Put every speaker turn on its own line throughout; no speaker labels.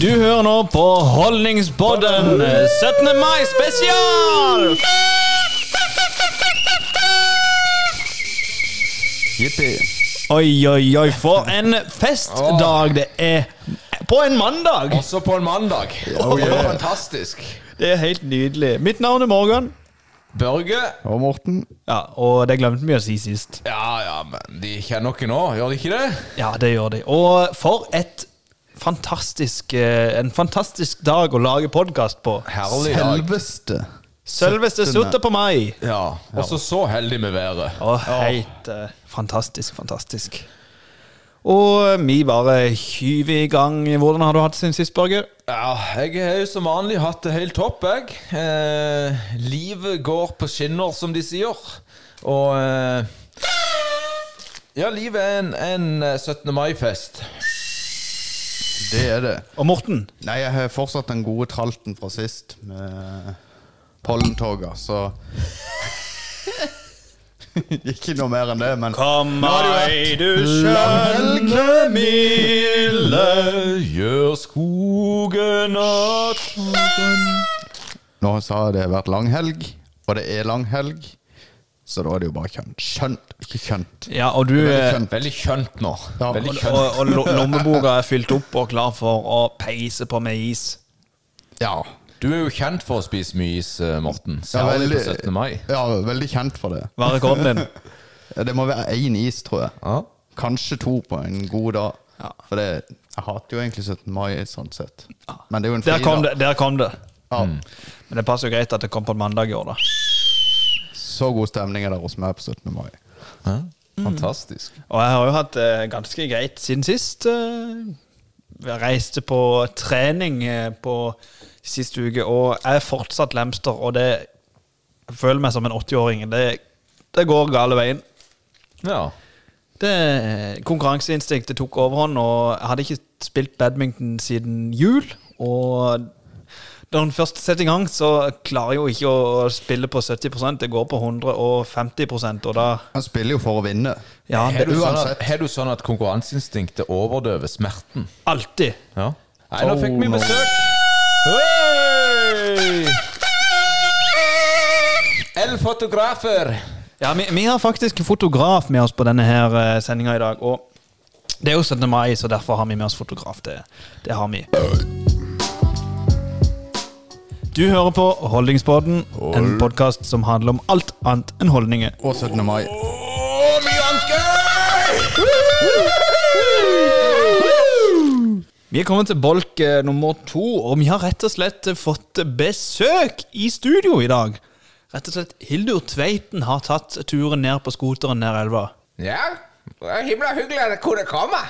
Du hører nå på Holdningspodden 17. mai spesial! Oi, oi, oi, for en festdag det er på en mandag!
Også på en mandag. Det er fantastisk.
Det er helt nydelig. Mitt navn er Morgan.
Børge
Og Morten.
Ja, Og det glemte vi å si sist.
Ja, ja, men de kjenner dere nå, gjør de ikke det?
Ja, det gjør de. Og for et fantastisk, eh, en fantastisk dag å lage podkast på.
Herlig dag.
Selveste.
Selveste 17. på mai.
Ja, Også så heldig med været.
Og helt eh, fantastisk, fantastisk. Og eh, vi bare hyver i gang. Hvordan har du hatt det siden sist, Børge?
Ja, Jeg har jo som vanlig hatt det helt topp, jeg. Eh, livet går på skinner, som de sier. Og eh, Ja, livet er en, en eh, 17. mai-fest.
Det er det.
Og Morten?
Nei, jeg har fortsatt den gode tralten fra sist med pollentoga, så Ikke noe mer enn det, men
Kom ei, du
skjønne
milde
Gjør skogen at
nå sa jeg det har vært langhelg, og det er langhelg, så da er det jo bare kjønt. Skjønt, ikke kjønt.
Ja, og du
Det er
eh,
kjønt.
Veldig kjønt nå.
Ja.
Veldig
og,
kjønt.
og lo- lommeboka er fylt opp og klar for å peise på med is.
Ja.
Du er jo kjent for å spise mye is, eh, Morten.
Ja,
Særlig på
veldig-
17. mai.
ja, veldig kjent for det.
Hva er rekorden din?
Det må være én is, tror jeg.
Ja.
Kanskje to på en god dag.
Ja.
For det, jeg hater jo egentlig 17. mai, sånn sett. Men det er jo en
Der kom det. Mm.
fridag.
der kom det
Ja.
Men det passer jo greit at det kom på en mandag i år, da.
Så god stemning er det hos meg på 17. mai.
Ja, Fantastisk.
Og jeg har jo hatt det ganske greit siden sist. eh. Jeg reiste på trening eh, på sist uke, og jeg er fortsatt lemster. Og det jeg føler meg som en 80-åring. Det, det går gale veien.
Ja.
Det, konkurranseinstinktet tok overhånd, og jeg hadde ikke spilt badminton siden jul. Og når en først setter i gang, så klarer jeg jo ikke å spille på 70 Det går på 150 og da
Han spiller jo for å vinne.
Ja,
Har
det,
du, sånn at,
uansett.
har du sånn at konkurranseinstinktet overdøver smerten?
alltid.
Ja. Nei, nå fikk vi
Oh, no.
besøk. Hei! El fotografer.
Ja, vi, vi har faktisk en fotograf med oss på denne her sendinga i dag. Og det er jo 17. mai, så derfor har vi med oss fotograf. Det, det har vi. Du hører på Holdningspodden, en podkast som handler om alt annet enn holdninger.
Og 17. mai.
Og mye annet gøy!
Vi er kommet til bolk eh, nummer to, og vi har rett og slett eh, fått besøk i studio i dag. Rett og slett Hildur Tveiten har tatt turen ned på skuteren nær elva.
Ja, det er himla hyggelig at dere kunne komme.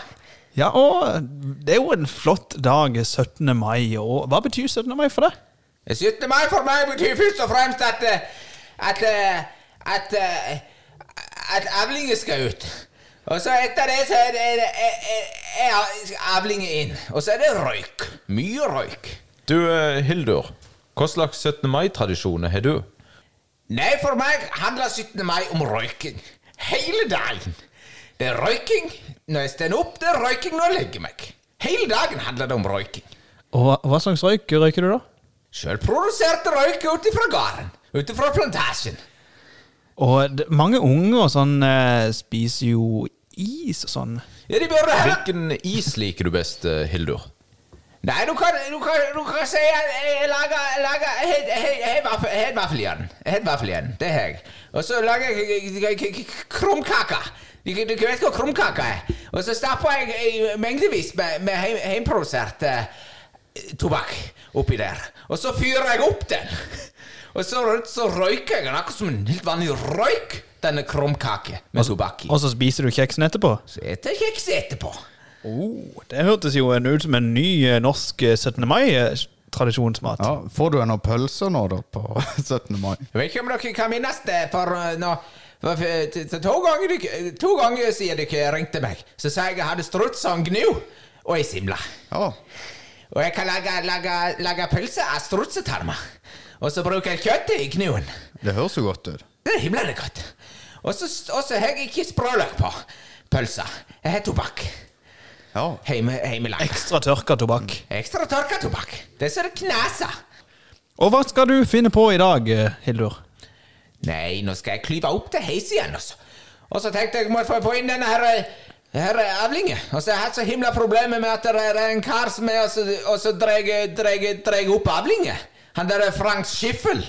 Ja, og det er jo en flott dag, 17. mai. Og hva betyr 17. mai for deg?
17. mai for meg betyr først og fremst at eh, at eh, at, eh, at avlinger skal ut. Og så etter det så er det, er, er, er- er avlinger inn. Og så er det røyk. Mye røyk. Du, eh, Hildur. Hva slags 17. mai-tradisjoner har du? Nei, for meg handler 17. mai om røyking. Hele dagen. Det er røyking når jeg stender opp, det er røyking når jeg legger meg. Hele dagen handler det om røyking.
Og hva slags røyk røyker du, da?
Sjølproduserte røyk ut ifra gården. Ut ifra plantasjen.
Og det, mange unge og sånn eh, spiser jo is og sånn.
Ja, de burde ha
Hvilken is liker du best, eh, Hildur?
Nei, du kan, du kan, du kan si at jeg lager, jeg lager helt- helt- helt vaffel- helt vaffel igjen. Helt vaffel igjen. Det har jeg. Og så lager jeg k- k- k- krumkaker. Du, du vet hva krumkaker er? Og så stapper jeg eh, mengdevis med, med heim- heimprodusert eh, tobakk oppi der. Og så fyrer jeg opp den. Og så, så røyker jeg den akkurat som en helt vanlig røyk, denne krumkake med tobakk i.
Og så spiser du kjeksen etterpå.
Så spiser jeg kjeks etterpå.
Oh, det hørtes jo en ut som en ny eh, norsk eh, 17. mai-tradisjonsmat.
Ja, får du ennå pølser nå, da, på 17. mai?
Jeg vet ikke om dere kan minnes det, for eh, nå for, for, t- t- to, ganger, dere- eh, to ganger siden dere ringte meg, så sa jeg jeg hadde struts og en gnu og ei simle.
Ja.
Og jeg kan lage, lage, lage pølse av strutsetarmer. Og så bruker jeg kjøttet i gnuen.
Det høres jo godt ut.
Det er himlende godt. Og så og så har jeg ikke sprøløk på pølsa. Jeg har tobakk.
Ja.
Heime, heimelag.
Ekstra tørka tobakk.
Ekstra tørka tobakk. Det er så det knaser.
Og hva skal du finne på i dag, eh, Hildur?
Nei, nå skal jeg klyve opp til heis igjen, altså. Og så tenkte jeg må få få inn denne her, eh, her avlinge. Og så har jeg hatt så himla problemer med at det er en kar som er og så, og så dreg, dreg, dreg opp avlinge. Han der Frank Schiffel.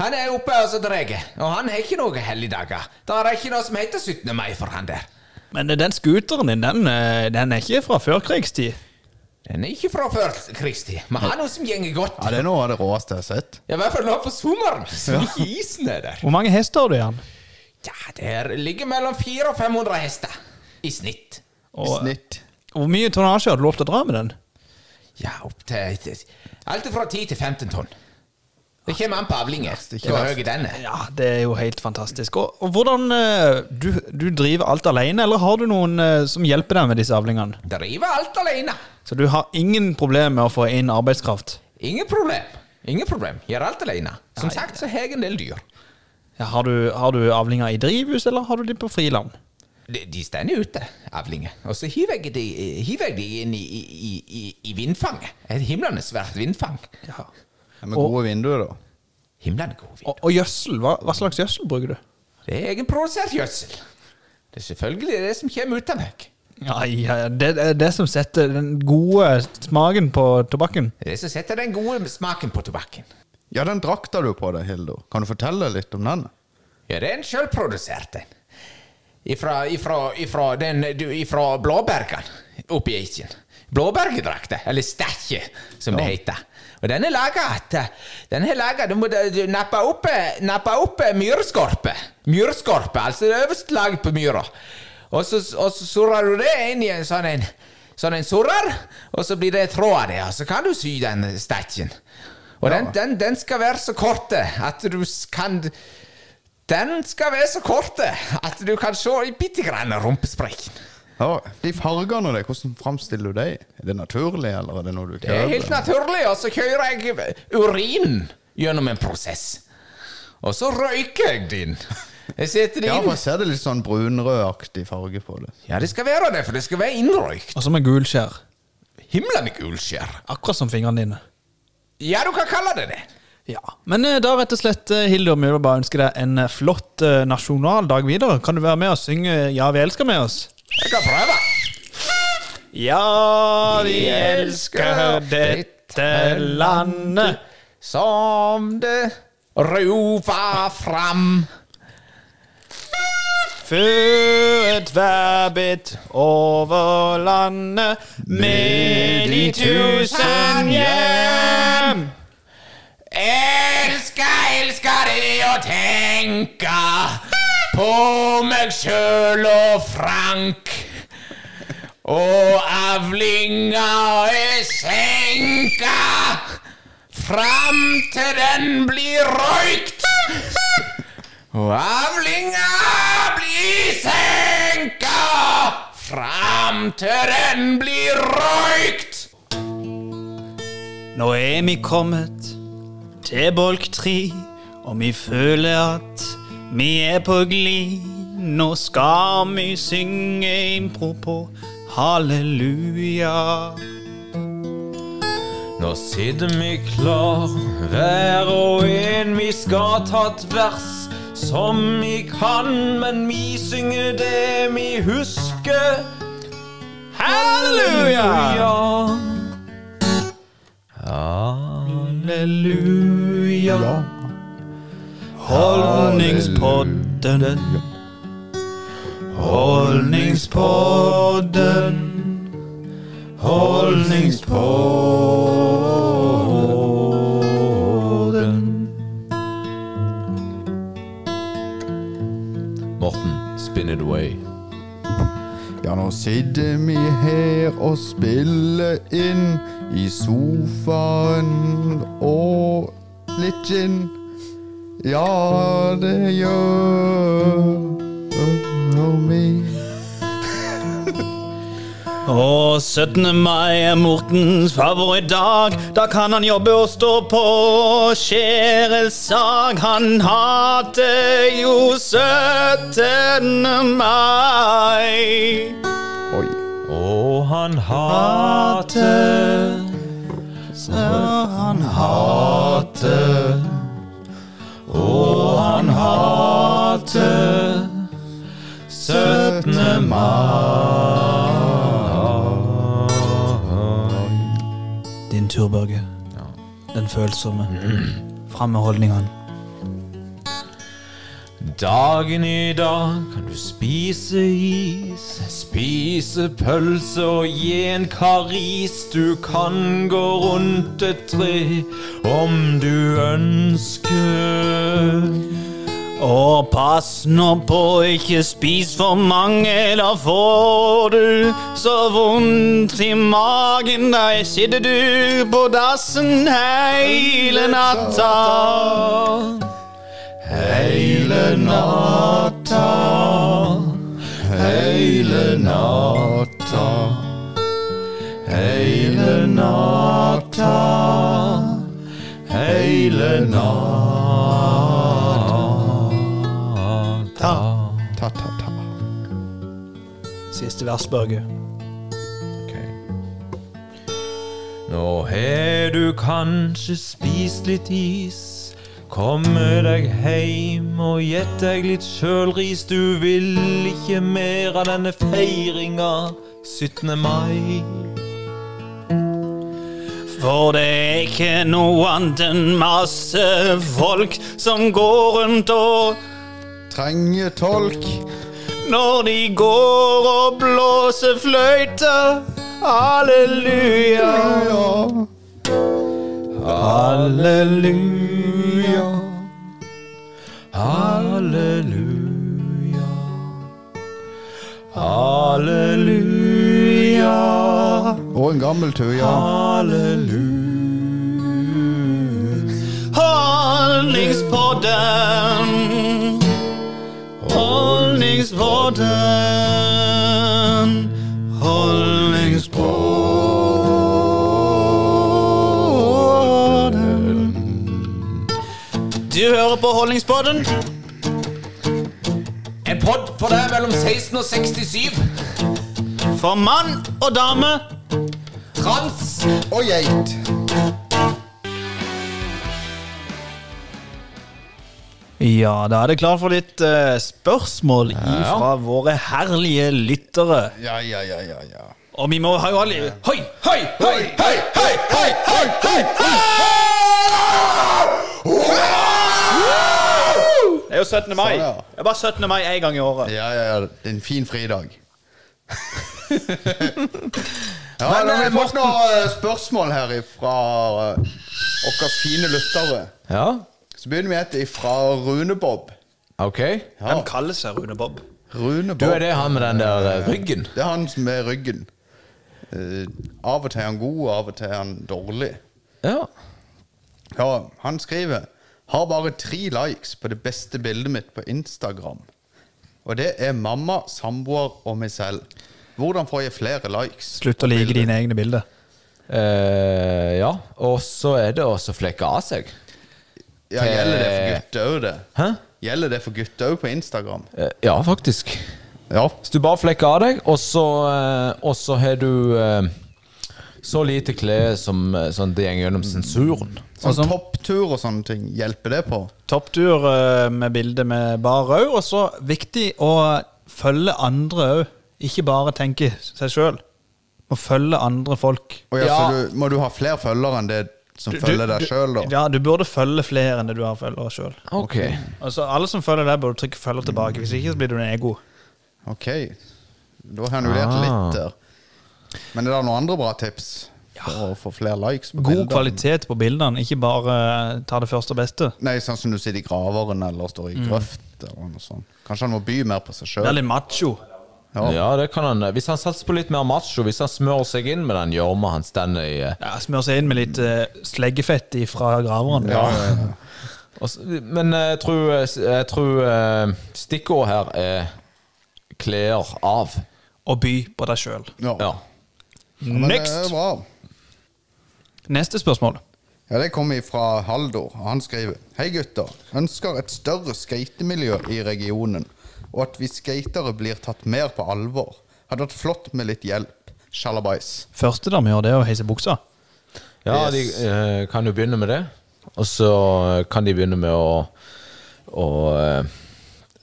Han er oppe og så dreg. Og han har ikke noen helligdager. Det er ikke noe som heter 17. mai for han der.
Men eh, den scooteren din, den, eh, den er ikke fra førkrigstid.
Den er ikke fra før krigstid, men han er noe som gjenger godt.
ja, det er noe av det råeste jeg har sett.
I hvert fall nå på sommeren, så ikke isen er der.
Hvor mange hester har du i den?
Ja, det ligger mellom 400 og 500 hester i snitt.
Og, eh,
Snitt.
Hvor mye tonnasje har du lov til å dra med den?
Ja, opp til til- Alt fra 10 til 15 tonn. Det kommer an på avlinger.
ikke
Hvor
verst.
høy den er.
Ja, det er jo helt fantastisk. Og, og hvordan eh, du, du driver alt alene, eller har du noen eh, som hjelper deg med disse avlingene?
Driver alt alene.
Så du har ingen problemer med å få inn arbeidskraft?
Ingen problem. Ingen problem. Gjør alt alene. Som sagt så har jeg en del dyr.
Ja, har, du, har du avlinger i drivhus, eller har du de på friland?
De, de står ute, avlinger. Og så hiver jeg de, hiver jeg de inn i, i, i- i, i vindfanget. Et himlende svært vindfang.
Ja.
Ja, Med gode vinduer, da.
Himlende god vind.
Og, og gjødsel, hva, hva slags gjødsel bruker du?
Det er egenprodusert gjødsel. Det er selvfølgelig det som kommer ut av meg.
Ja, ja, ja, det er det som setter den gode smaken på tobakken.
Det er det som setter den gode smaken på tobakken.
Ja, den drakta du på deg, Hildur. Kan du fortelle litt om den?
Ja, det er en sjølprodusert en. Ifra, ifra, ifra, den, du, ifra blåbergen oppi Eiken. Blåbergedrakta, eller stekje, som det heter. Og den er laga Den er laga Du må da- du nappe opp, eh, nappe opp myrskorpe. Myrskorpe, altså det øverste laget på myra. Og så, og så surrer du det inn i en sånn en Sånn en surrer, og så blir det tråd av det, og så kan du sy den stekjen. Og den, den, den skal være så kort eh, at du s- kan den skal være så kort eh, at du kan se i bitte grann rumpesprekken.
Ja, De fargene og det, hvordan framstiller du dem? Er det naturlig, eller er det noe du
Det er helt
kjøper?
naturlig, og så kjører jeg urin gjennom en prosess. Og så røyker jeg den. Jeg setter det
Ja, for
inn.
jeg ser det litt sånn brunrødaktig farge på det.
Ja, det skal være det, for det skal være innrøykt.
Og så med gulskjær.
Himla med gulskjær.
Akkurat som fingrene dine.
Ja, du kan kalle det det.
Ja. Men eh, da rett og slett, eh, Hildur, vi vil bare ønske deg en eh, flott eh, nasjonaldag videre. Kan du være med og synge Ja, vi elsker med oss?
Jeg kan prøve.
Ja,
vi elsker eh, dette
landet.
Som det ruva fram.
Før et værbitt over landet med de tusen hjem.
Elska, elska det å tenka på meg sjøl og Frank. Og avlinga er senka fram til den blir røykt. Og avlinga blir senka fram til den blir røykt.
Nå er vi kommet til bolk tre, og vi føler at vi er på glid. Nå skal vi synge impro på halleluja.
Nå sitter vi klar, hver og en. Vi skal ta et vers som vi kan, men vi synger det vi husker.
Halleluja!
Ja.
Halleluja. Holdningspodden. Holdningspodden. Holdningspodden.
Morten, spin it away.
Ja, nå sitter vi her og spiller inn i sofaen og litt gin. Ja, det gjør vi.
Og 17. mai er Mortens favorittdag. Da kan han jobbe og stå på skjære sag. Han hater jo 17. mai.
Oi.
Og
han hater.
han hater,
Og han hater 17. mai.
Din tur, Børge. Den følsomme. Fram med holdningene.
Dagen i dag kan du spise is, spise pølse og gi en karis. Du kan gå rundt et tre om du ønsker.
Og pass nå på, ikke spis for mange, da får du så vondt i magen. Da sitter du på dassen hele natta.
hele natta, hele natta, hele natta, hele natta. Ta, ta, ta.
Siste vers, Børge.
Ok. Nå har du kanskje spist litt is. Komme deg heim og gjett deg litt sjølris. Du vil ikke mer av denne feiringa 17. mai.
For det er ikke noe annet enn masse folk som går rundt og
Trenger tolk.
Når de går og blåser fløyte. Halleluja.
Ja.
Halleluja. Halleluja. Halleluja.
Og en gammel tur, ja.
Halleluja.
Holdningspodden. Holdningspodden. Holdningspodden. Du hører på Holdningspodden.
En pod for deg mellom 16 og 67.
For mann og dame.
Trans.
Og geit.
Ja, da er det klart for litt eh, spørsmål fra våre herlige lyttere.
Ja, ja, ja, ja, ja.
Og vi må ha jo alle Hoi!
Hei, hei, hei, hei, hei, hei, hei,
Det er jo 17. mai.
Sånn, ja.
Det er bare 17. mai én gang i året.
Ja, ja, ja. Det er en fin fridag. ja,
Men,
da har
eh,
vi fått noen eh, spørsmål her fra våre fine lyttere.
Ja,
Så begynner vi et fra Rune Bob.
ok.
Ja.
Hvem kaller seg Rune Bob?
Rune
Du
Bob.
er det han med den der eh, ryggen.
Det er han som er ryggen. Eh, av og til er han god, og av og til er han dårlig.
Ja.
Ja, han skriver Har bare tre likes på det beste bildet mitt på Instagram. Og det er mamma, samboer og meg selv. Hvordan får jeg flere likes?
Slutt å like dine egne bilder.
Eh, ja. Og så er det også flekke av seg.
Ja, gjelder det for gutter òg, det?
Hæ?
Gjelder det for gutter òg på Instagram?
Eh, ja, faktisk.
Ja.
Så du bare flekker av deg, og så, eh, og så har du eh, så lite klær som eh, sånn det går gjennom sensuren.
Sånn topptur og sånne ting, hjelper det på?
Topptur eh, med bilde med bar rød, og så viktig å følge andre òg. Ikke bare tenke seg sjøl. Må følge andre folk.
Å ja,
Ja.
Så du, må du ha flere følgere enn det som følger deg sjøl, da?
Ja, du burde følge flere enn det du har følgere sjøl.
Ok.
Altså, alle som følger deg, burde trykke 'følger tilbake'. Hvis ikke så blir du en ego.
Ok. Da har han jo
Ah.
lært litt der. Men er det noen andre bra tips for å få flere likes? på
God
bildene?
kvalitet på bildene, ikke bare eh, ta det første og beste.
Nei, sånn som du sitter i graveren eller står i grøft eller noe sånt. Kanskje han må by mer på seg
Mm. Det er
sjøl.
litt macho.
Ja.
Ja, det kan han. Hvis han satser på litt mer macho, hvis han smører seg inn med den gjørma han stender i eh,
Ja, Smør seg inn med litt eh, sleggefett fra graveren.
og så- Men eh, jeg tror, eh, s- jeg tror eh, stikkordet her er klær av.
Og by på deg sjøl.
Ja.
Ja.
Men det
Next!
er bra.
Neste spørsmål.
Ja, Det kommer fra Haldor. og Han skriver Hei, gutter. Ønsker et større skatemiljø i regionen, og at vi skatere blir tatt mer på alvor. Hadde vært flott med litt hjelp. Sjalabais.
Første de gjør, det er å heise buksa.
Ja, de
Yes.
eh, kan jo begynne med det. Og så eh, kan de begynne med å, å eh,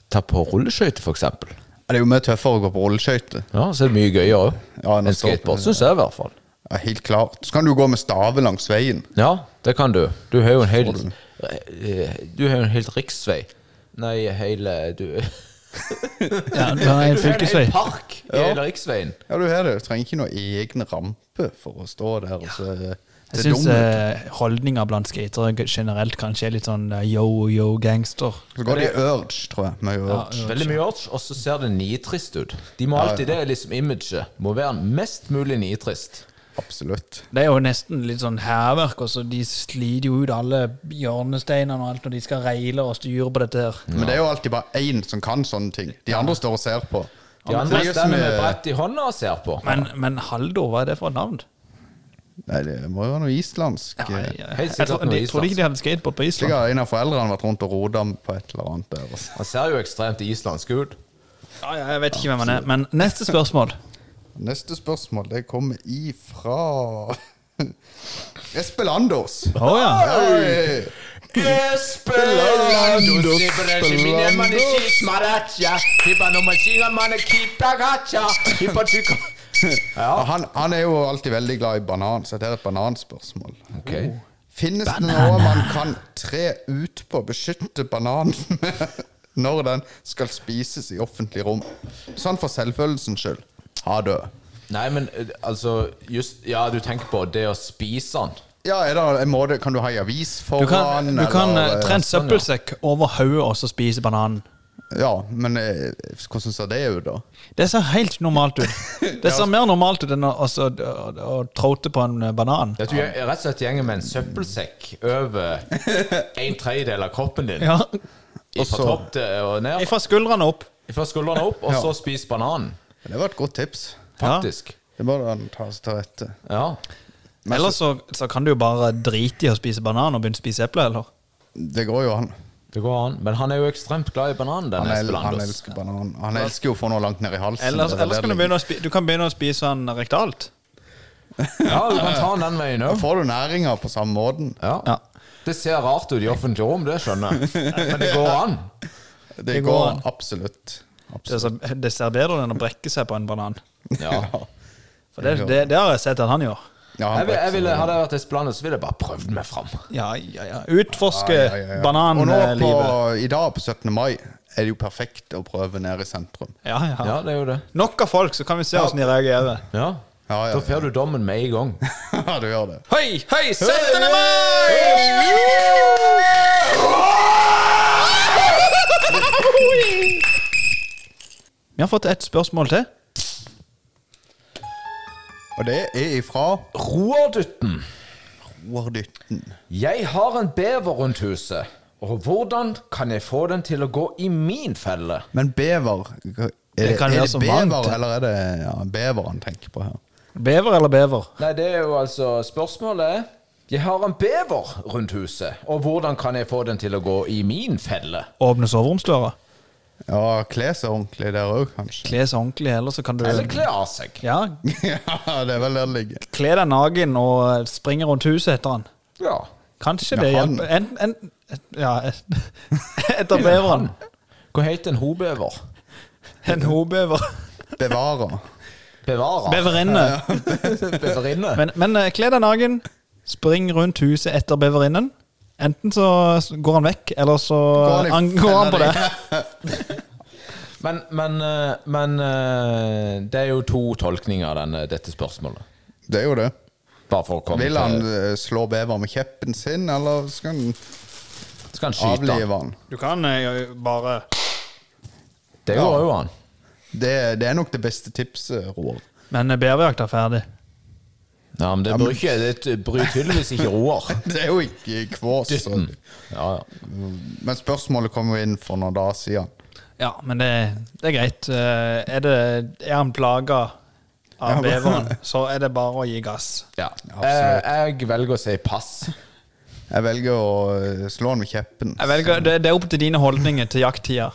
ta på rulleskøyter, for eksempel
Ja, Det er jo mye tøffere å gå på rulleskøyter.
Ja, så er det mye gøyere òg.
Ja, enn å
enn
stå på-
skateboard, syns jeg i hvert fall.
Ja, helt klart. Så kan du gå med stave langs veien.
Ja, det kan du. Du har jo en hel eh, Du har jo en hel riksvei. Nei, hele Du
Ja, det er en
Du har en
fylkesvei.
hel park i
Ja.
hele riksveien.
Ja, du har det. Du trenger ikke noen egne rampe for å stå der og se
Jeg
se dum
syns
ut.
eh, holdninger blant skatere generelt kanskje er litt sånn eh, yo-yo gangster.
Så går det i urge, tror jeg. Med urge.
Veldig mye orch, og så ser det nitrist ut. De må alltid, Det er liksom imaget. Må være mest mulig nitrist.
Absolutt.
Det er jo nesten litt sånn hærverk. og så De sliter jo ut alle hjørnesteinene og alt når de skal reile og styre på dette her.
Men det er jo alltid bare én som kan sånne ting. De andre står og ser på.
De andre
Det er jo så
stender med
mye-
brett i hånda og ser på.
Men, men Haldor, hva er det for et navn?
Nei, det må jo være noe islandsk.
Nei,
Jeg
jeg,
Helt sikkert
tror-
noe
de- trodde ikke de hadde skateboard på Island.
har en av foreldrene vært rundt og roda på et eller annet der. altså.
Han ser jo ekstremt islandsk ut.
Ja, ja, jeg vet ikke hvem han er. Men neste spørsmål.
Neste spørsmål det kommer ifra Espen Landås.
Å ja.
Hei! Og Han, han er jo alltid veldig glad i banan, så dette er et bananspørsmål.
Ok
Finnes det noe man kan tre ut på å beskytte bananen med når den skal spises i offentlig rom? Sånn for selvfølelsens skyld. Ha det.
Nei, men eh, altså just, Ja, du tenker på det å spise den.
Ja, er det en måte Kan du ha i avis
Du
foran?
kan, du kan eh,
eller-
tre en søppelsekk over hodet og så spise bananen.
Ja, men eh, hvordan ser det ut, da?
Det ser helt normalt ut. Det ser mer normalt ut enn å, altså, å, å tråte på en eh, banan.
Det er at du gjeng- rett og slett gjenger med en søppelsekk over en tredjedel av kroppen din.
Ja.
I Fra
så-
topp til eh, og ned.
Fra skuldrene opp.
Fra skuldrene opp, og så spis bananen.
Det var et godt tips.
Faktisk.
Det må han ta seg til rette.
Ja.
Ellers så, så kan du jo bare drite i å spise banan og begynne å spise eple, eller?
Det går jo an.
Det går an. Men han er jo ekstremt glad i banan, den
Han, el
Espen
han
Landås.
elsker banan. Han elsker jo å få noe langt ned i halsen.
Ellers,
Det er
ellers
der
kan du
det ligger.
begynne å spise, du kan begynne å spise den rektalt.
Ja, du kan ta den den veien
Da
òg.
får du næringa på samme måten.
Ja.
Ja.
Det ser rart ut i offentlige rom, det skjønner jeg. Men det går an.
Det,
Det går
går
an.
absolutt.
Det
absolutt.
ser, det ser bedre ut enn å brekke seg på en banan.
Ja.
For det, det, det har jeg sett at han gjør.
Ja, han
Jeg, vil- jeg
brekker
ville,
seg.
hadde jeg vært Espen Landås, så ville jeg bare prøvd meg fram.
Ja, ja, ja. Utforske
Ja, ja, ja, ja. Og nå
bananlivet.
på, i dag, på 17. mai, er det jo perfekt å prøve nede i sentrum.
Ja, ja.
Ja, det er jo det.
Nok av folk, så kan vi se hvordan de reagerer.
Ja.
Ja, ja,
Da får du dommen med i gang.
ja, du gjør det.
Hei, hei, 17. mai! Vi har fått et spørsmål til.
Og det er ifra
Roardutten.
Roardytten.
Jeg har en bever rundt huset. Og hvordan kan jeg få den til å gå i min felle?
Men bever Er det,
kan være
er det
som
bever,
vant.
eller er det ja, bever han tenker på her?
Bever eller bever?
Nei, det er jo altså Spørsmålet er Jeg har en bever rundt huset, og hvordan kan jeg få den til å gå i min felle?
Åpne soveromsdøra.
Ja, kle seg ordentlig der òg, kanskje.
Kle seg ordentlig, eller så kan du
Eller kle av seg.
Ja,
ja, det er vel der det ligger.
kle deg naken og springe rundt huset etter han.
Ja.
Kanskje det
Ja, han-
hjelper. En, en, ja, etter beveren.
Hva heter en hobever?
En hobever.
Bevare.
Bevara?
Beverinne.
Beverinne?
Men, men eh, kle deg naken, spring rundt huset etter beverinnen. Enten så s- går han vekk, eller så
Går han i
an- går han på det.
fella
Men, men, eh, men eh, det er jo to tolkninger av denne, dette spørsmålet.
Det er jo det.
Bare for å komme
Vil han
til
eh, slå bever med kjeppen sin, eller skal han
Skal han skyte han?
avlive han?
Du kan eh, bare
Det gjorde jo han.
Det, det er nok det beste tipset, Roar.
Men eh, beverjakt er ferdig.
Ja, men det bryr, ikke, det bryr tydeligvis ikke Roar.
Det er jo ikke kvås. så-
Dytten. Ja, ja.
Men spørsmålet kom jo inn for noen dager siden.
Ja, men det, det er greit. Eh, Er, det, er han plaga av beveren, så er det bare å gi gass.
ja. Eh, jeg velger å si pass.
Jeg velger å eh, slå han med kjeppen.
Jeg velger, det, det er opp til dine holdninger til jakttida.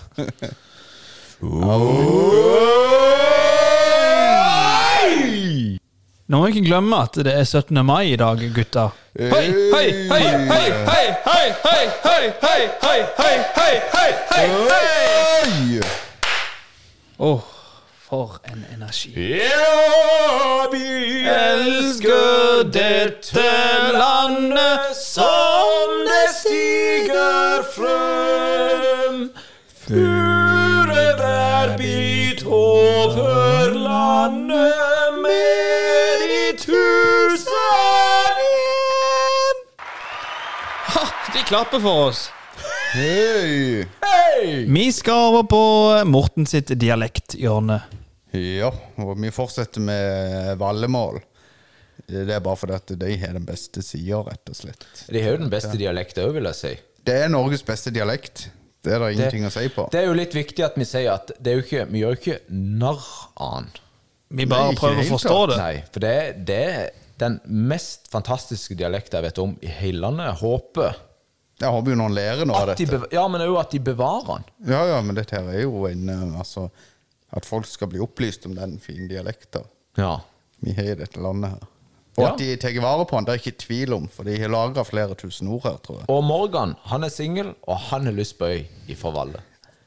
Nå må vi ikke glemme at det er 17. mai i dag, gutta. Hei, hei, hei, hei, hei, hei, hei, hei, hei, hei, hei, hei, hei, hei, hei.
Oi!
Åh, for en energi.
Ja, vi elsker dette landet som det stiger frem. Fure hver bit over landet med de tusen hjem.
Ha, de klapper for oss.
Hei!
Vi skal over på Morten sitt dialekthjørne.
Ja, og vi fortsetter med vallemål. Det er bare fordi at de har den beste sida, rett og slett.
De har jo den beste dialekten òg, vil jeg si.
Det er Norges beste dialekt. Det er det ingenting å si på.
Det er jo litt viktig at vi sier at det er jo ikke, vi gjør jo ikke narr av den.
Vi bare
Nei, ikke
prøver å
helt
forstå
klart.
det.
Nei, for det, det er den mest fantastiske dialekten jeg vet om i hele landet. Jeg Håper
Jeg håper jo noen lærer noe av
at de
dette.
bev- Ja, men òg at de bevarer den.
Ja, ja, men dette her er jo en eh, Altså, at folk skal bli opplyst om den fine dialekta
Ja.
vi har i dette landet her. Og at de tar vare på den, det er ikke tvil om, for de har lagra flere tusen ord her, tror jeg.
Og Morgan, han er singel, og han har lyst på øy ifra Valle.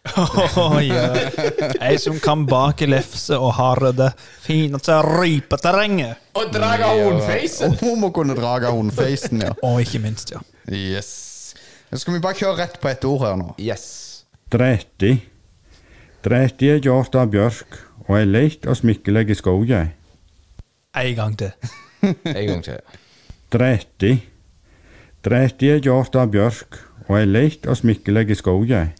Oi, ja. Ei som kan bake lefse og har det fineste rypeterrenget.
Og draga hornfeisen.
Og hun må kunne drage hundefeisen, ja.
Og ikke minst, ja.
Yes. Nå skal vi bare kjøre rett på ett ord her nå.
Yes.
30. 30 er gjort av bjørk og er leit og smikkelig i skogen.
En gang til.
En gang til.
30. 30 er gjort av bjørk og er leit og smikkelig i skogen.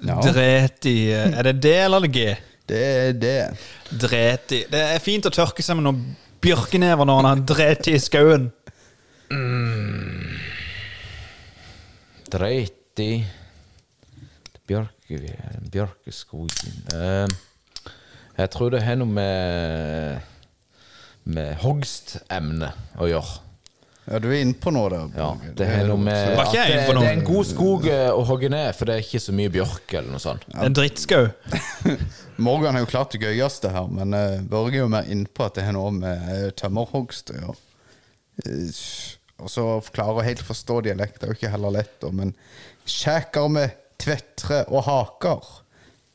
Dreti. eh, Er det D eller er det G?
Det er det.
Dreti. Det er fint å tørke seg med noen bjørkenever når han har dreti i skauen.
Dreit i Bjørke, Bjørkeskogen Eh, Jeg tror det har noe med med hogstemne å gjøre.
Ja, du er inne på noe der.
Ja,
Borge.
det har noe med
Var ikke jeg
at det,
inne på noe?
det er en god skog eh, å hogge ned, for det er ikke så mye bjørk eller noe sånt.
En drittskau.
Morgan er jo klart det gøyeste her, men eh, Børge er jo mer inne på at det har noe med uh, tømmerhogst å gjøre. Eh, og så klare å helt forstå dialekt, det er jo ikke heller lett, da, men Kjæker med tvettre og haker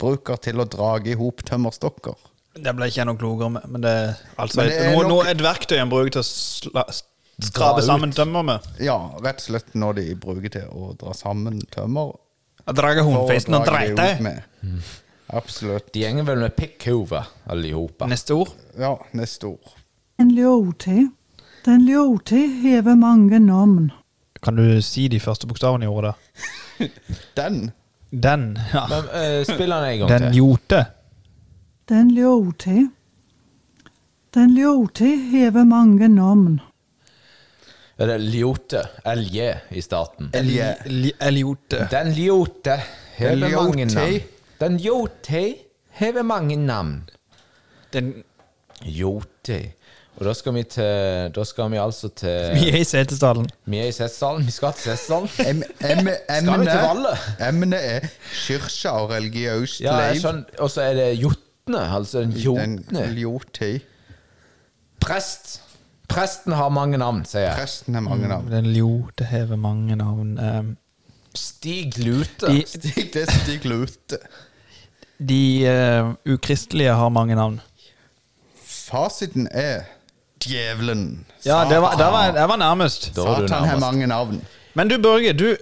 bruker til å drage i hop tømmerstokker.
Det ble ikke jeg noe klokere med, men det er altså
Men det er
et, noe,
nok-
noe, et verktøy en bruker til å sla, skrape sammen tømmer med.
Ja, rett og slett når de bruker til å dra sammen tømmer.
Jeg drar
for å
hundefeisen og
drage det
dreite.
ut med. Absolutt.
De gjenger vel med pikkhover, alle i hopa.
Neste ord.
Ja, neste ord.
Den ljoti. Den ljoti hever mange navn.
Kan du si de første bokstavene i ordet?
Den
Den. Ja.
Men eh, spill den en gang
Den
til.
jote.
Den ljoti. Den ljoti hever mange navn.
Er det Ljote? LJ i starten.
Elje.
Eliote.
Den Ljote hever
Den
mange
Ljote.
navn. Den Ljote hever mange navn.
Den
Ljote. Og da skal vi til Da skal vi altså til
Mye i Setesdalen.
Vi er i Setesdalen. Vi skal til Setesdalen.
Em, em, emne,
til Valle?
emne er kirke og religiøst
Ja, jeg
liv.
skjønner. Og så er det Jotne, altså den
Den
Jotne.
ljoti.
Prest. Presten har mange navn, sier jeg.
Presten er mange navn.
Den ljote hever mange navn. Ehm,
Stig Lute.
De,
Stig, det er Stig Lute.
de eh, ukristelige har mange navn.
Fasiten er djevelen.
Ja, det var, det var, det var nærmest.
Da var du
Satan har
nærmest.
mange navn.
Men du, Børge, du,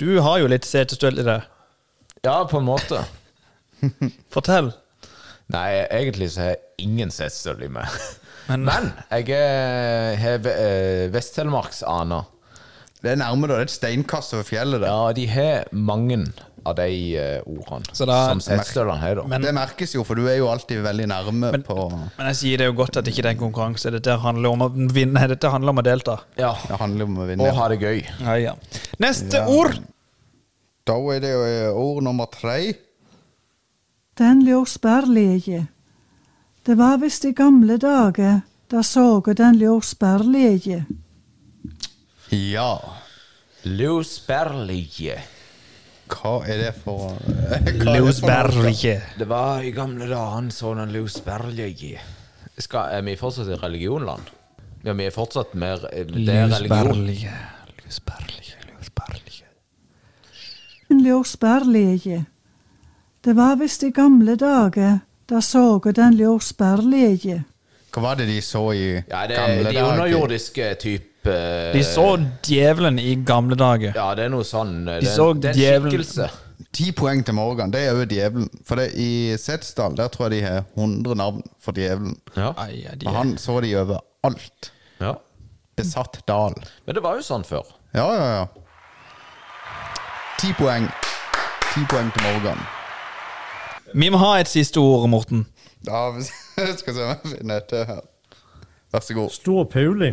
du har jo litt setestøl i deg.
Ja, på en måte.
Fortell.
Nei, egentlig så har jeg ingen setesdøl i meg.
Men-
Men, jeg eh, har eh, Vest-Telemarks aner.
Det er nærme, da. Det er et steinkast over fjellet. der.
Ja, de har mange av de eh, ordene
Så da-
som setesdølene har, da.
Men,
det merkes jo, for du er jo alltid veldig nærme på
men jeg sier det jo godt at ikke det er en konkurranse. Dette handler om å vinne. Dette handler om å delta.
Ja.
Det handler om å vinne.
Og ha det gøy.
Ja, ja. Neste ord.
Da er det jo eh, ord nummer tre.
Den lå sperrleie. Det var visst i gamle dager da såge den lå sperrleie.
Ja.
Løsberlige.
Hva er det for Hva er det for noe?
Løsberget.
Det var i gamle dager han så den løsberlige. skal, er vi fortsatt i religionland? Ja, vi er fortsatt mer eh, Det er religion.
Lysberlige, lysberlige, lysberlige.
En jordbærlege. Det var visst i gamle dager da såget en jordbærlege.
Hva var det de så i
Ja, det er
gamle
de underjordiske type
De så djevelen i gamle dager.
Ja, det er noe sånn De
så
det er en
djevelen.
skikkelse.
Ti poeng til Morgan. Det er jo djevelen. For det, i Setesdal der tror jeg de har 100 navn for djevelen.
Ja.
Ai, ja, de
Og han så de overalt.
ja.
Besatt dal.
Men det var jo sånn før.
Ja, ja, ja. Ti poeng. Ti poeng til Morgan.
Vi må ha et siste ord, Morten.
Ja, hvis- jeg skal se om jeg finner et til her. Vær så god.
Stor Pauli.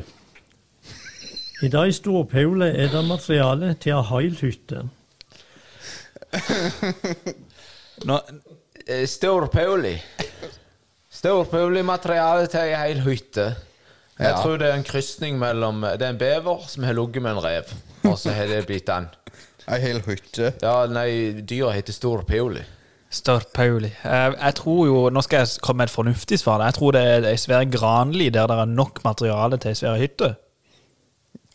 I dag i Stor Pauli er det materiale til ei heil hytte.
Nå,
Eh, Stor Pauli. Stor Pauli-materiale til ei hel hytte. Jeg
Ja.
tror det er en krysning mellom Det er en bever som har ligget med en rev, og så har det blitt den.
Ei hel hytte.
Ja, nei, dyra heter Stor Pauli.
Stør Pauli. Eh, Jeg tror jo, Nå skal jeg komme med et fornuftig svar. Jeg tror det er ei svær granli der det er nok materiale til ei svær hytte.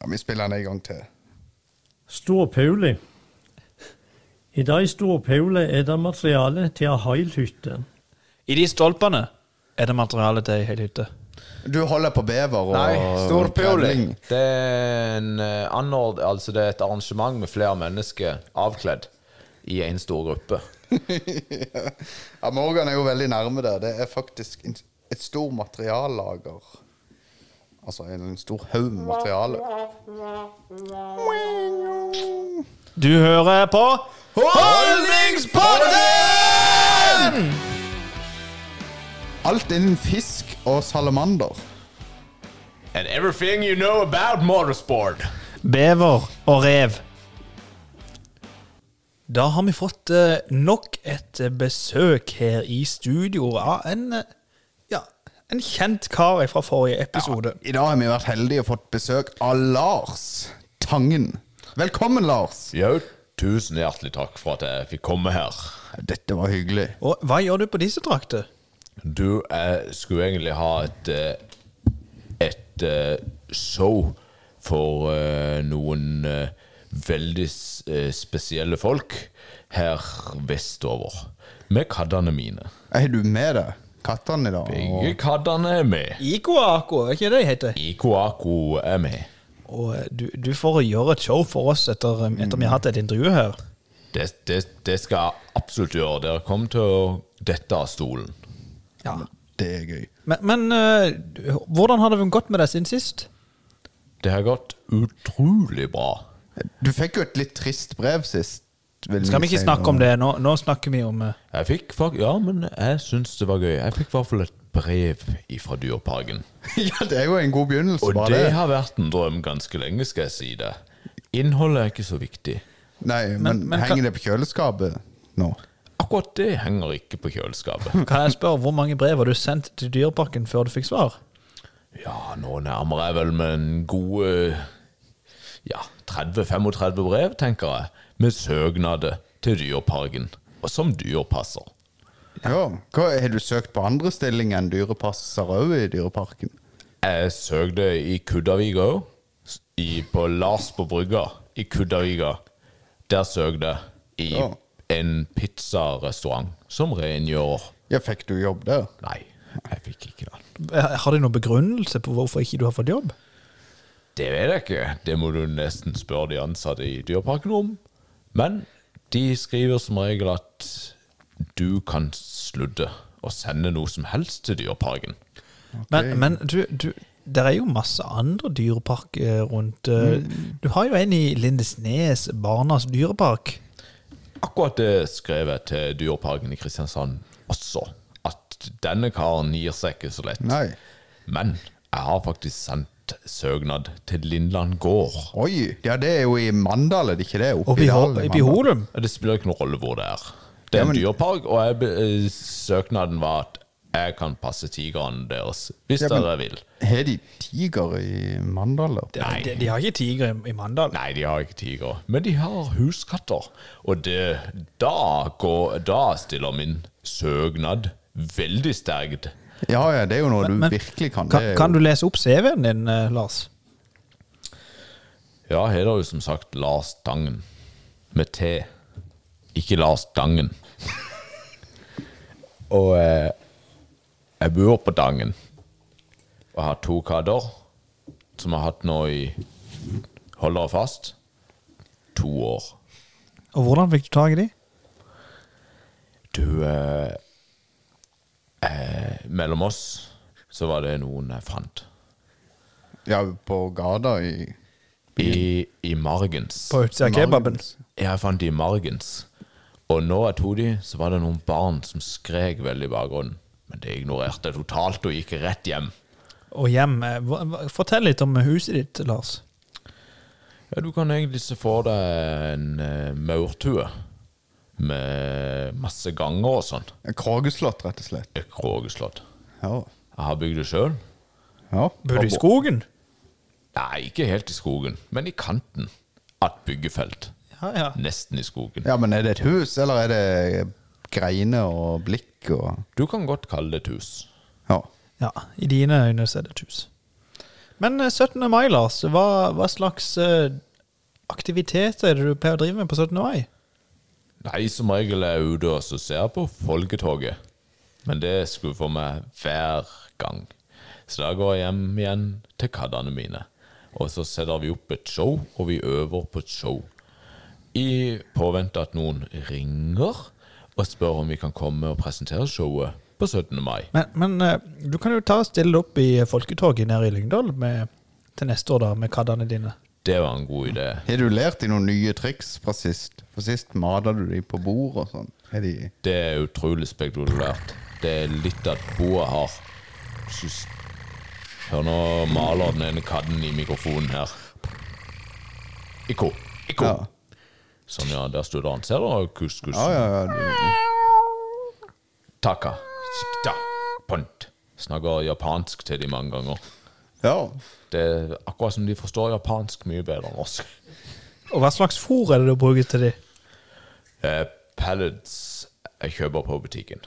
Ja, Vi spiller den en gang til.
Stor Pauli. I dag i Stor Pauli er det materiale til ei heil hytte.
I de stolpene er det materiale til ei hel hytte.
Du holder på bever og
Nei, Stor Pauli.
Grevling.
Det er en eh, anord... Altså, det er et arrangement med flere mennesker avkledd i en stor gruppe.
Ja, Morgan er jo veldig nærme der. Det er faktisk en, et stor materiallager. Altså en, en stor haug med materiale.
Du hører på Holdningspodden!
Alt innen fisk og salamander.
And everything you know about motorsport.
Bever og rev. Da har vi fått eh, nok et eh, besøk her i studio av en, eh, ja, en kjent kar fra forrige episode.
I dag har vi vært heldige og fått besøk av Lars Tangen. Velkommen, Lars.
Jo, tusen hjertelig takk for at jeg fikk komme her.
Dette var hyggelig.
Og hva gjør du på disse trakter?
Du, jeg skulle egentlig ha et eh, et eh, show for eh, noen eh, veldig s- eh, spesielle folk her vestover. Med kaddene mine.
Er du med deg kattene i dag?
Begge kaddene er med.
Ikoako, er ikke det det heter?
Ikoako er med.
Og eh, du, du får gjøre et show for oss etter, eh, etter vi har hatt et intervju her.
Det, det, det skal jeg absolutt gjøre. Dere kommer til å dette av stolen.
Ja.
Det er gøy.
Men, men eh, hvordan har det gått med deg siden sist?
Det har gått utrolig bra.
Du fikk jo et litt trist brev sist. vil
Skal vi ikke
si
snakke om
nå.
det? Nå, nå snakker vi om eh,
Jeg fikk fak- Ja, men jeg syns det var gøy. Jeg fikk i hvert fall et brev ifra Dyreparken.
ja, det er jo en god begynnelse.
Og
bare
det har vært en drøm ganske lenge, skal jeg si det. Innholdet er ikke så viktig.
Nei, men,
men kan-
henger det på kjøleskapet nå?
Akkurat det henger ikke på kjøleskapet.
Kan jeg spørre hvor mange brev har du sendt til Dyreparken før du fikk svar?
Ja, nå nærmer jeg vel med en god eh, Ja, 30-35 brev, tenker jeg, med søknader til Dyreparken. Og som dyrepasser.
Ja. Hva, har du søkt på andre stillinger enn dyrepasser òg i Dyreparken?
Jeg søkte i Kuddavik òg. På Lars på brygga i Kuddavika. Der søkte jeg i
Ja.
en pizzarestaurant som rengjør
Ja, fikk du jobb der?
Nei, jeg fikk ikke den.
Eh, Har de noen begrunnelse på hvorfor ikke du har fått jobb?
Det vet jeg ikke. Det må du nesten spørre de ansatte i Dyreparken om. Men de skriver som regel at du kan slutte å sende noe som helst til Dyreparken.
Men, men du, du det er jo masse andre dyreparker rundt. eh, Du har jo en i Lindesnes, Barnas dyrepark.
Akkurat det skrev jeg til Dyreparken i Kristiansand også. At denne karen gir seg ikke så lett.
Nei.
Men jeg har faktisk sendt søknad til Lindland gård.
Oi! Ja, det er jo i Mandal, er det ikke det? Oppe
Og i
dalen i Mandal.
Holum.
Det spiller ikke noen rolle hvor det er. Det er
Ja, men-
en dyrepark, og jeg, be- eh, søknaden var at jeg kan passe tigrene deres hvis
Ja, men-
dere vil.
Har de tiger i Mandal? da?
Nei.
De, de har ikke tiger i, i Mandal.
Nei, de har ikke tiger, men de har huskatter. Og det, da, går, da stiller min søknad veldig sterkt.
Ja, ja, det er jo noe
Men-
du
men
virkelig kan.
Kan,
det er jo-
kan du lese opp CV-en din, eh, Lars?
Ja, her er jo som sagt Lars Dangen. Med T. Ikke Lars Dangen. og eh, jeg bor på Dangen. Og har to katter som jeg har hatt nå i Hold dere fast to år.
Og hvordan fikk du tak i de?
Du eh, eh, Mellom oss så var det noen jeg fant.
Ja, på gata i
I, i margens.
På utsida av kebaben?
Jeg fant de i margens. Og når jeg tok de, så var det noen barn som skrek veldig i bakgrunnen. Men det ignorerte jeg totalt og gikk rett hjem.
Og hjem. eh, hva- hva- Fortell litt om huset ditt, Lars.
Ja, du kan egentlig se for deg en eh, maurtue med masse ganger og sånn.
Krageslott, rett og slett.
Et krogeslott.
Ja.
Jeg har bygd det sjøl.
ja.
Bor du i skogen?
Nei, ikke helt i skogen, men i kanten av et byggefelt.
Ja, ja.
Nesten i skogen.
Ja, men er det et hus, eller er det greiner og blikk og
Du kan godt kalle det et hus.
Ja.
ja I dine øyne så er det et hus. Men eh, 17. mai, Lars, hva, hva slags eh, aktiviteter er det du pleier å drive med på 17. mai?
Nei, som regel er jeg ute og så ser jeg på folketoget. Men det skuffer meg hver gang. Så da går jeg hjem igjen til kattene mine. Og så setter vi opp et show, og vi øver på et show. I påvente at noen ringer og spør om vi kan komme og presentere showet på 17. mai.
Men, men eh, du kan jo ta og stille opp i eh, folketoget nede i Lyngdal med, til neste år, da, med kaddene dine.
Det var en god idé.
Har du lært deg noen nye triks fra sist? For sist mata du de på bord og sånn. Er de
Det er utrolig spektakulært. Det er litt at boa har Sys- Hør nå maler den ene katten i mikrofonen her. Ikko. Ikko.
Ja.
Sånn, ja. Der står han. Ser du kuskus?
Ja, ja, ja. du-
Taka. Sikta. Pont. Snakker japansk til de mange ganger.
ja.
Det er akkurat som de forstår japansk mye bedre enn oss.
Og hva slags fôr er det du bruker til de?
Eh, pellets jeg kjøper på butikken.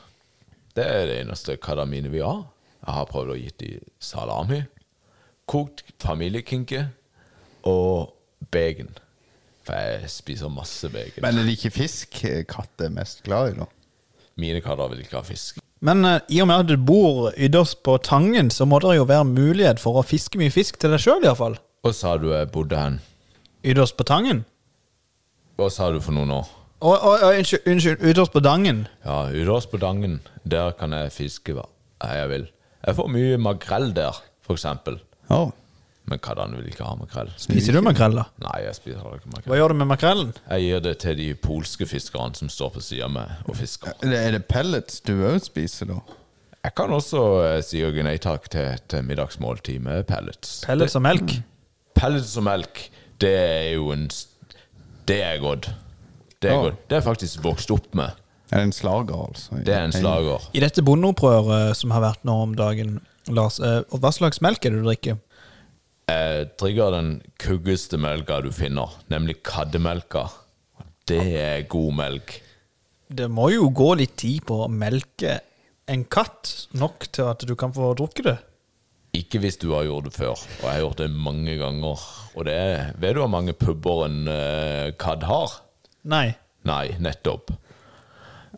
Det er det eneste kadamine vi har. Jeg har prøvd å gi dem salami, kokt familiekinke og bacon. For jeg spiser masse bacon.
Men er det ikke fisk katt er mest glad i, da?
Mine katter vil ikke ha fisk.
Men eh, i og med at du bor ytterst på Tangen, så må det jo være mulighet for å fiske mye fisk til deg sjøl, iallfall.
Og sa du jeg bodde hen?
Ytterst på Tangen?
Hva sa du for noen år?
Å, å, å, unnskyld, unnskyld, ytterst på Dangen.
Ja, utårs på Dangen. Der kan jeg fiske hva jeg vil. Jeg får mye makrell der, for eksempel.
Ja.
Men kattene vil ikke ha makrell.
Spiser du makrell, da?
Nei, jeg spiser ikke makrell.
Hva gjør du med makrellen?
Jeg gir det til de polske fiskerne som står på sida med og fisker.
Er det- Er det pellets du òg spiser, da?
Jeg kan også eh, si og nei takk til et middagsmåltid med pellets.
Pellets og melk?
Pellets og melk, det er jo en s- Det er godt. Det er
Ja.
godt. Det er jeg faktisk vokst opp med.
Er det en slager, altså?
Det er en slager.
I dette bondeopprøret eh, som har vært nå om dagen, Lars, eh, og hva slags melk er det du drikker?
Jeg drikker den kuggeste melka du finner, nemlig kaddemelka. Det er god melk.
Det må jo gå litt tid på å melke en katt nok til at du kan få drukket det.
Ikke hvis du har gjort det før, og jeg har gjort det mange ganger. Og det er, Vet du hvor mange pubber en eh, kadd har?
Nei.
Nei, nettopp.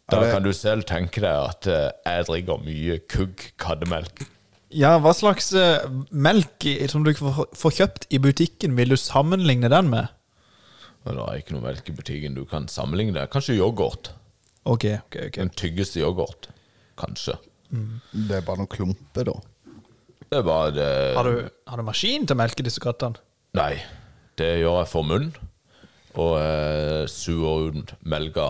Da kan du selv tenke deg at eh, jeg drikker mye kugg kaddemelk.
Ja, hva slags eh, melk i- som du får får kjøpt i butikken, vil du sammenligne den med?
Men det er ikke noe melk i butikken du kan sammenligne det. Kanskje yoghurt.
Ok, ok, ok.
Den tyggeste yoghurt. Kanskje.
Det er bare noen klumper, da.
Det er bare det
Har du, har du maskin til å melke disse kattene?
Nei. Det gjør jeg for munn. Og eh, suger ut melka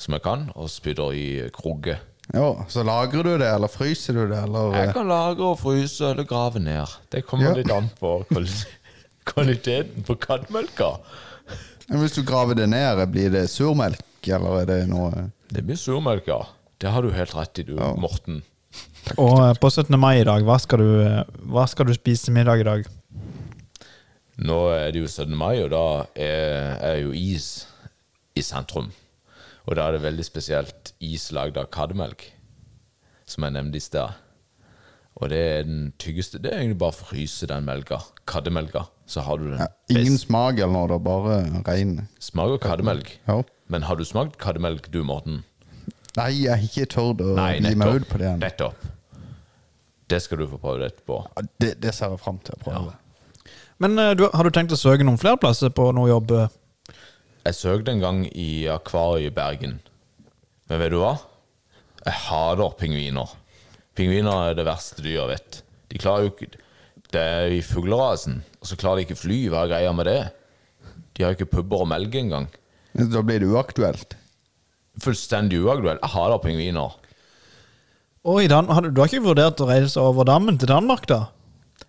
som jeg kan, og spytter i krugge.
Ja, Så lagrer du det, eller fryser du det, eller
Jeg kan lagre og fryse eller grave ned. Det kommer
Ja.
litt an på kvali- kvaliteten på kaddemelka.
Men eh, Hvis du graver det ned, blir det surmelk, eller er det noe eh,
Det blir surmelk, ja. Det har du helt rett i, du, Morten.
Og eh, på 17. mai i dag, hva skal du, eh, hva skal du spise til middag i dag?
Nå er det jo 17. mai, og da er, er jo is i sentrum. Og da er det veldig spesielt is lagd av kaddemelk, som jeg nevnte i sted. Og det er den tyggeste. Det er egentlig bare å fryse den melka. Kaddemelka. Så har du den.
Ja, ingen
best.
smak eller noe, da. Bare rein.
Smaker kaddemelk.
Ja.
Men har du smakt kaddemelk, du, Morten?
Nei, jeg er ikke tørt å
Nei,
gi meg ut
nettopp.
på det igjen.
nettopp. Det skal du få prøvd etterpå.
Ja, Det, det ser jeg fram til å prøve.
Men eh, du, har du tenkt å søke noen flere plasser på noe jobb? eh?
Jeg søkte en gang i akvariet i Bergen. Men vet du hva? Jeg hater pingviner. Pingviner er det verste dyr jeg vet. De klarer jo ikke Det er i fuglerasen, og så klarer de ikke fly. Hva er greia med det? De har jo ikke pupper å melke engang.
Men Da blir det uaktuelt.
Fullstendig uaktuelt. Jeg hater pingviner.
Og i Dan har du, du har ikke vurdert å reise over dammen til Danmark, da?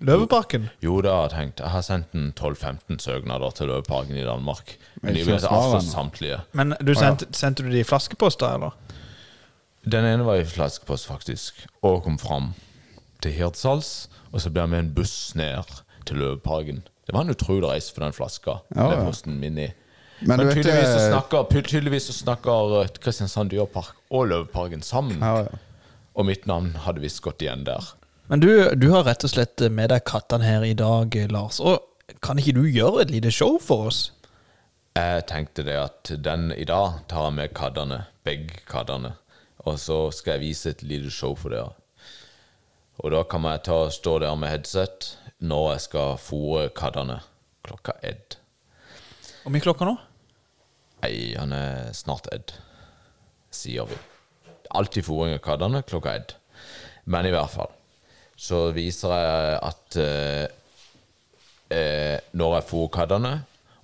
Løveparken?
Jo, det har jeg tenkt. Jeg har sendt en 12-15 søknader til Løveparken i Danmark. Men
Men
de
ikke
ble
svar
avslått
ennå.
samtlige.
Men du sendte, sendte du de i flaskeposter, eller?
Den ene var i flaskepost, faktisk, og kom fram til Hirtshals. Og så ble jeg med en buss ned til Løveparken. Det var en utrolig reise for den flaska.
Ja,
den
ja.
posten min i.
Men
Men,
du vet,
tydeligvis, så
eh,
snakker, py- tydeligvis så snakker eh, Kristiansand Dyrepark og Løveparken sammen.
Ja, ja.
Og mitt navn hadde visst gått igjen der.
Men du, du har rett og slett med deg kattene her i dag, eh, Lars. Og kan ikke du gjøre et lite show for oss?
Jeg tenkte det at den i dag tar jeg med kaddene, begge kaddene, og så skal jeg vise et lite show for dere. Og da kan jeg ta, stå der med headset når jeg skal fôre kaddene. Klokka ett.
Hvor mye klokka nå?
Nei, han er snart ett, sier vi. Alltid fôring av kaddene klokka ett. Men i hvert fall så viser jeg at eh, eh, når jeg fôrer kaddene,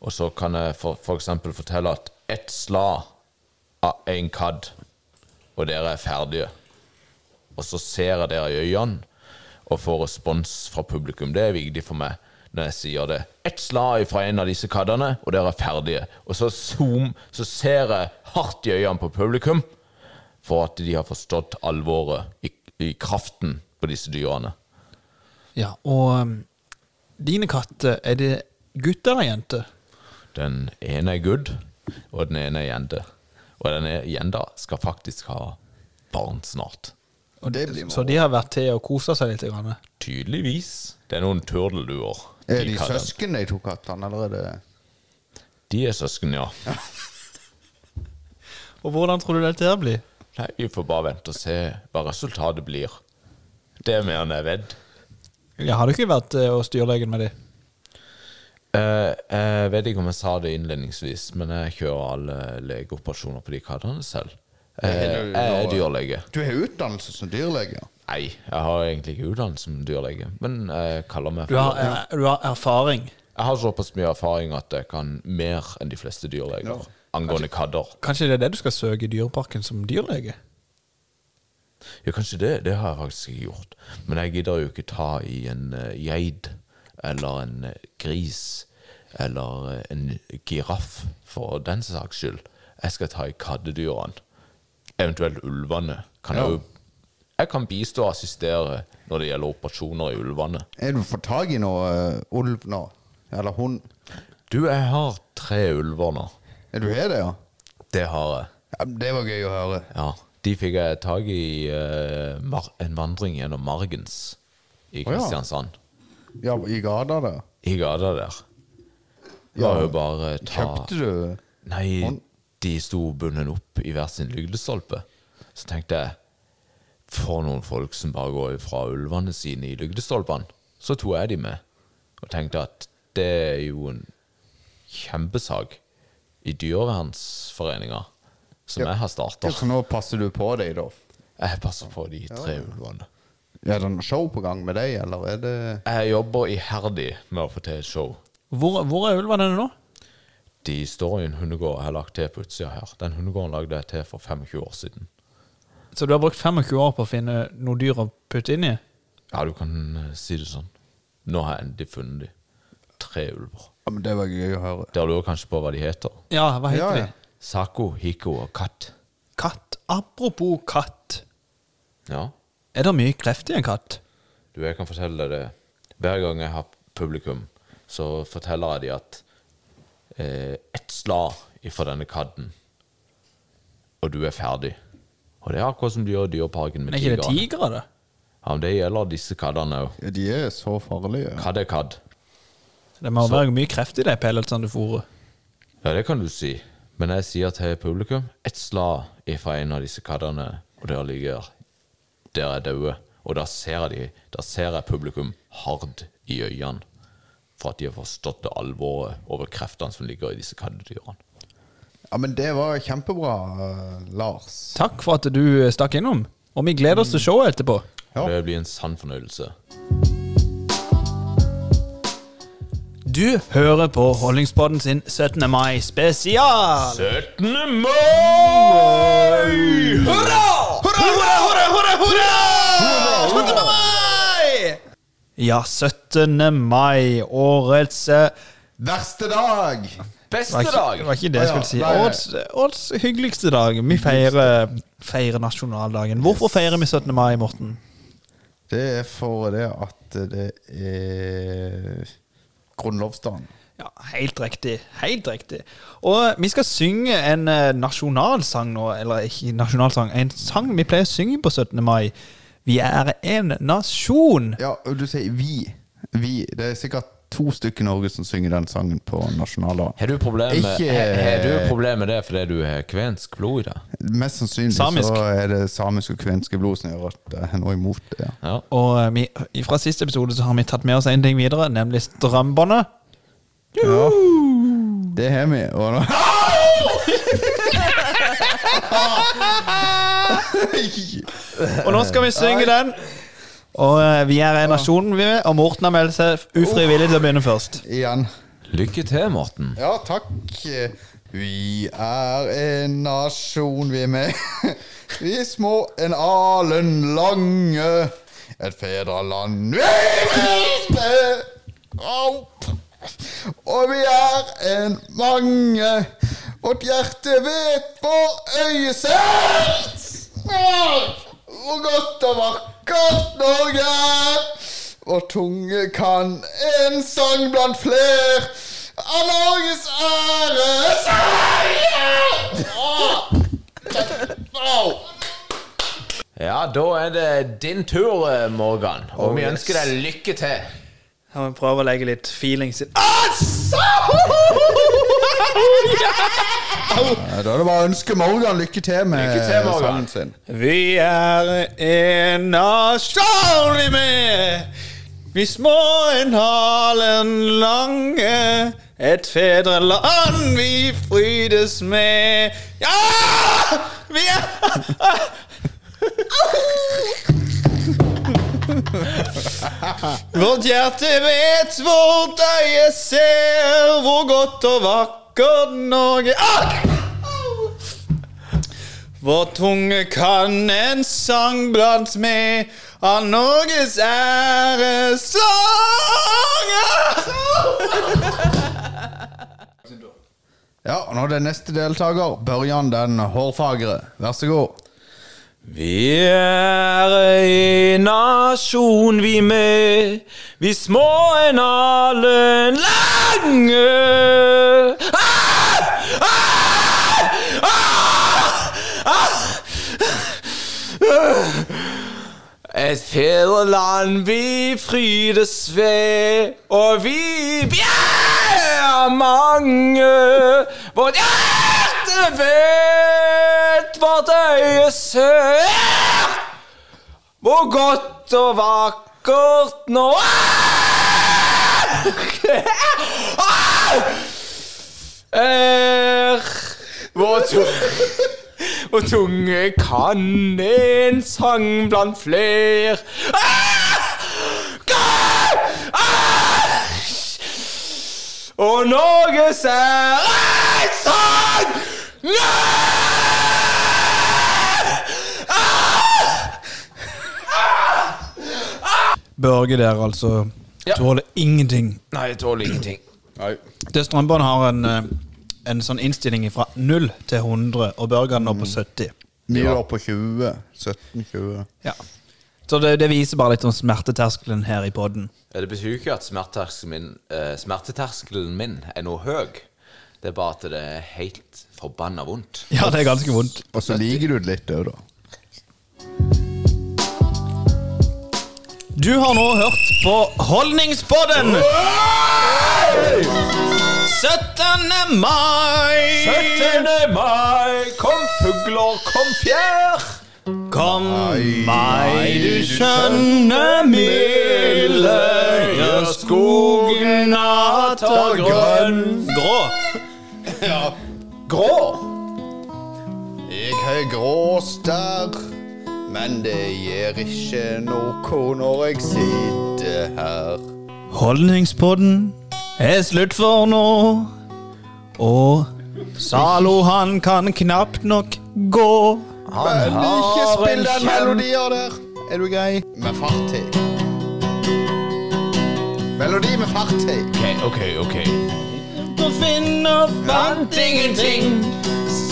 og så kan jeg for, for eksempel fortelle at ett slag av en kadd, og dere er ferdige. Og så ser jeg dere i øynene og får respons fra publikum. Det er viktig for meg når jeg sier det. Ett slag fra en av disse kaddene, og dere er ferdige. Og så zoom, så ser jeg hardt i øynene på publikum for at de har forstått alvoret i, i kraften på disse dyrene.
Ja, og um, dine katter, er det gutter eller jenter?
Den ene er good, og den ene er jente. Og den ene jenta skal faktisk ha barn snart.
Og
Det blir
så de har vært til og kosa seg litt? Grann.
Tydeligvis. Det er noen turdelduer.
er de
kaller-
søsken, de to kattene, eller er det
De er søsken, ja.
Og hvordan tror du dette her blir?
Nei, vi får bare vente og se hva resultatet blir. Det er mer enn jeg vet.
Ja, har du ikke vært eh, hos dyrlegen med de?
Eh, jeg vet ikke om jeg sa det innledningsvis, men jeg kjører alle legeoperasjoner på de kattene selv. Eh, jeg er dyrlege.
Du har utdannelse som dyrlege? ja.
Nei, jeg har egentlig ikke utdannelse som dyrlege, men jeg kaller meg
Du har,
dyrlege.
eh, du har erfaring.
Jeg har såpass mye erfaring at jeg kan mer enn de fleste dyrleger
Ja.
angående kadder.
Kanskje det er det du skal søke i Dyreparken som dyrlege?
Ja, kanskje det. Det har jeg faktisk ikke gjort. Men jeg gidder jo ikke ta i en eh, geit eller en eh, gris eller eh, en giraff, for den saks skyld. Jeg skal ta i kattedyrene. Eventuelt ulvene. Kan jeg, jo, jeg kan bistå og assistere når det gjelder operasjoner i ulvene.
Er du fått tak i noe eh, ulv nå? Eller hund?
Du, jeg har tre ulver nå.
Er du har det, ja?
Det har jeg.
ja? Det var gøy å høre.
Ja, de fikk jeg tak i eh, mar en vandring gjennom Margens i
ja.
Kristiansand.
Ja, I gata der?
I gata der. Det
Ja,
var jo bare ta
Kjøpte du
Nei,
Hånd-
de sto bunnen opp i hver sin lygdestolpe. Så tenkte jeg For noen folk som bare går fra ulvene sine i lygdestolpene. Så tok jeg de med, og tenkte at det er jo en kjempesak i dyrevernsforeninga som jeg har starta.
Ja, Så nå passer du på deg, da?
Jeg passer på de tre ulvene.
Er det noe show på gang med deg, eller er det
Jeg jobber iherdig med å få til et show.
Hvor, hvor er ulven henne nå?
De står i en hundegård jeg har lagt til på utsida her. Den hundegården lagde jeg til for 25 år siden.
Så du har brukt 25 år på å finne noe dyr å putte inn i?
Ja, du kan eh, si det sånn. Nå har jeg endelig funnet de. Tre ulver.
ja, men Det var gøy å høre.
Dere lurer kanskje på hva de heter?
Ja, hva
Ja,
heter
ja.
de?
Sako, Hiko og Katt.
Katt. Apropos katt.
Ja,
Er det mye kreft i en katt?
du, jeg kan fortelle deg det. Hver gang jeg har publikum, så forteller jeg dem at eh, ett slag ifra denne kadden, og du er ferdig. Og det er akkurat som de gjør i Dyreparken med
Men er ikke det
tigrene.
tigre, det?
Ja, men det gjelder disse kaddene òg.
De er så farlige.
Kadd er kadd.
Det må være mye kreft i de pelletsene du fôrer.
Ja, det kan du si. Men jeg sier til publikum et slag ifra en av disse kaddene, og der ligger Der er daue. Og da ser, de, da ser jeg publikum hard i øynene for at de har forstått det alvoret over kreftene som ligger i disse kaddedyrene.
Ja, men det var kjempebra, eh, Lars.
Takk for at du stakk innom, og vi gleder oss til showet etterpå.
Ja.
Det blir en sann fornøyelse.
Du hører på Holdningspodden sin 17. mai spesial.
17. mai!
Hurra, hurra, hurra, hurra, hurra! 17. mai! Ja, 17. mai, årets eh,
Verste dag!
var
Beste
ikke,
dag!
Det var ikke det jeg
Å, ja.
skulle si.
Nei, nei.
Årets, årets hyggeligste dag. Vi feirer, feirer nasjonaldagen. Hvorfor feirer vi 17. mai, Morten?
Det er for det at det er grunnlovsdagen.
Ja, helt riktig. Helt riktig. Og vi skal synge en eh, nasjonalsang nå. Eller ikke nasjonalsang, en sang vi pleier å synge på 17. mai. Vi er en nasjon.
Ja, og du sier vi. Vi. Det er sikkert to stykker i Norge som synger den sangen på nasjonaldagen.
Har du problemer med,
Ikke-
har- har du problem med det fordi du har kvensk blod i det?
Mest sannsynlig
Samisk.
så er det samisk og kvenske blod som gjør at jeg er noe imot det. Ja.
Ja.
Og eh, vi, fra siste episode så har vi tatt med oss en ting videre, nemlig strømbåndet.
Ja. Det har vi. Og nå
Og nå skal vi synge den. Og eh, vi er en nasjon, vi. Og Morten har meldt seg ufrivillig til å begynne først.
igjen.
Lykke til, Morten.
Ja, takk. Vi er en nasjon, vi er med. Vi er små, en alen lange. Et fedreland vi reiste opp. Og vi er en mange. Vårt hjerte vet vår øye sett. Hvor godt og vakkert Norge er. Vår tunge kan en sang blant fler. Av Norges ære seier! Au!
Ja, da er det din tur, eh, Morgan.
Oh,
Og vi ønsker deg lykke til.
Her må vi prøve å legge litt feeling sin
Ja, Da er det bare å ønske Morgan lykke til med
Lykke til, Morgan.
sangen sin.
Vi er en nasjon, vi med. Vi små en halen lange. Et fedreland vi frydes med. Ja! Vi er Vårt hjerte vet, vårt øye ser, hvor godt og vakkert Norge ah! Vår tunge kan en sang blant med av Norges æresang.
Ja, og nå er det neste deltaker, Børjan den hårfagre. Vær så god.
Vi er en nasjon, vi med, vi små en alen lange. Ah! Ah! Ah! Ah! Et fedreland vi frydes ved, og vi, vi er mange. Vårt hjerte vet, vårt øye ser, hvor godt og vakkert nå er Vår tunge, vår tunge kan en sang blant fler Ah, ah, Og Norges er en sang
Børge der, altså. Tåler ingenting.
Nei, jeg tåler ingenting.
Det strømbåndet har en, eh, en sånn innstilling fra 0 til 100, og Børge er nå på 70.
Vi var på 20. 17-20.
Ja. Så det, det viser bare litt om smerteterskelen her i podden.
Ja, Det betyr jo ikke at smerteterskelen min, eh, smerteterskelen min er noe høy. Det er bare at det er helt forbanna vondt.
Ja, det er ganske vondt.
Og så liker du det litt òg, da.
Du har nå hørt på Holdningspodden! 17. mai!
17. mai, kom fugler, kom fjær.
Kom mai, du skjønne milde, gjør skogen natt og grønn. Grå.
Grå. Jeg har grå stær, men det gjør ikke noe når jeg sitter her.
Holdningspodden er slutt for nå. Og Zalo, han kan knapt nok gå.
Men ikke spill den
kjem-
melodien der. Er du grei? Med fart i. Melodi med fart i.
OK, OK. ok
Og finner fant ingenting.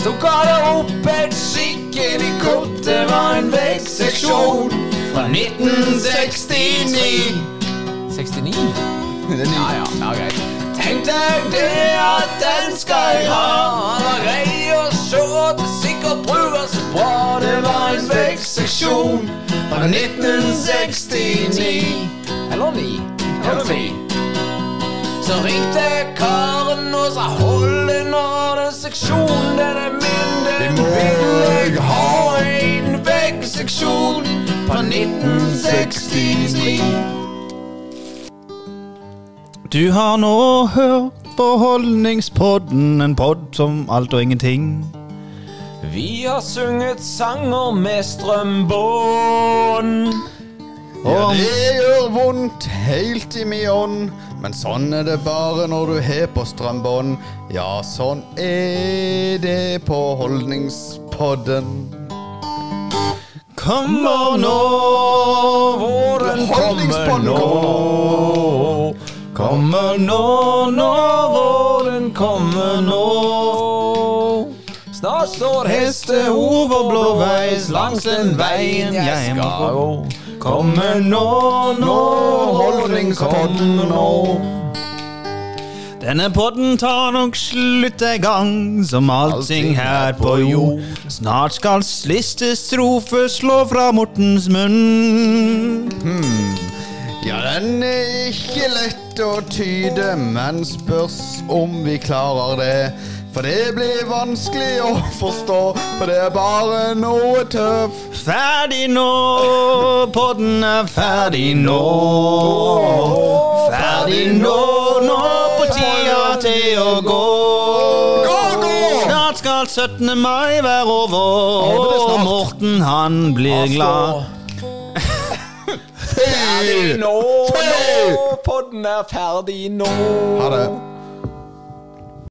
Så ga det opp et skikkelig kort, det var en veggseksjon fra 1969.
69?
Det er ny.
Ah, Ja, ja, greit. Tenk deg det at den skal jeg ha. Han var grei og sjåt, sikkert bruker så bra. Det var en veggseksjon fra 1969.
Eller 9? Eller 10?
Så ringte karen og sa hold den av den seksjonen, den er min, den vil jeg ha. En veggseksjon fra 1969.
Du har nå hørt på Holdningspodden, en podd som alt og ingenting.
Vi har sunget sanger med strømbånd.
Ja, det gjør vondt helt i mi ånd. Men sånn er det bare når du har på strømbånd. Ja, sånn er det på holdningspodden.
Kommer nå våren
Holdningspodden
nå. Kommer nå, nå våren kommer nå.
Snart står
Hestehov og blåveis langs den veien jeg må gå. Kommer nå, nå holdningspodden nå. Denne podden tar nok slutt en gang, som allting her på jord. Snart skal siste strofe slå fra Mortens munn.
Hmm. Ja, den er ikke lett å tyde, men spørs om vi klarer det. For det blir vanskelig å forstå, for det er bare noe tøv.
Ferdig nå, podden er ferdig nå. Ferdig nå, nå på tida til å gå. Snart skal 17. mai være over, og Morten han blir glad.
Ferdig nå, nå, podden er ferdig nå.
Ha det.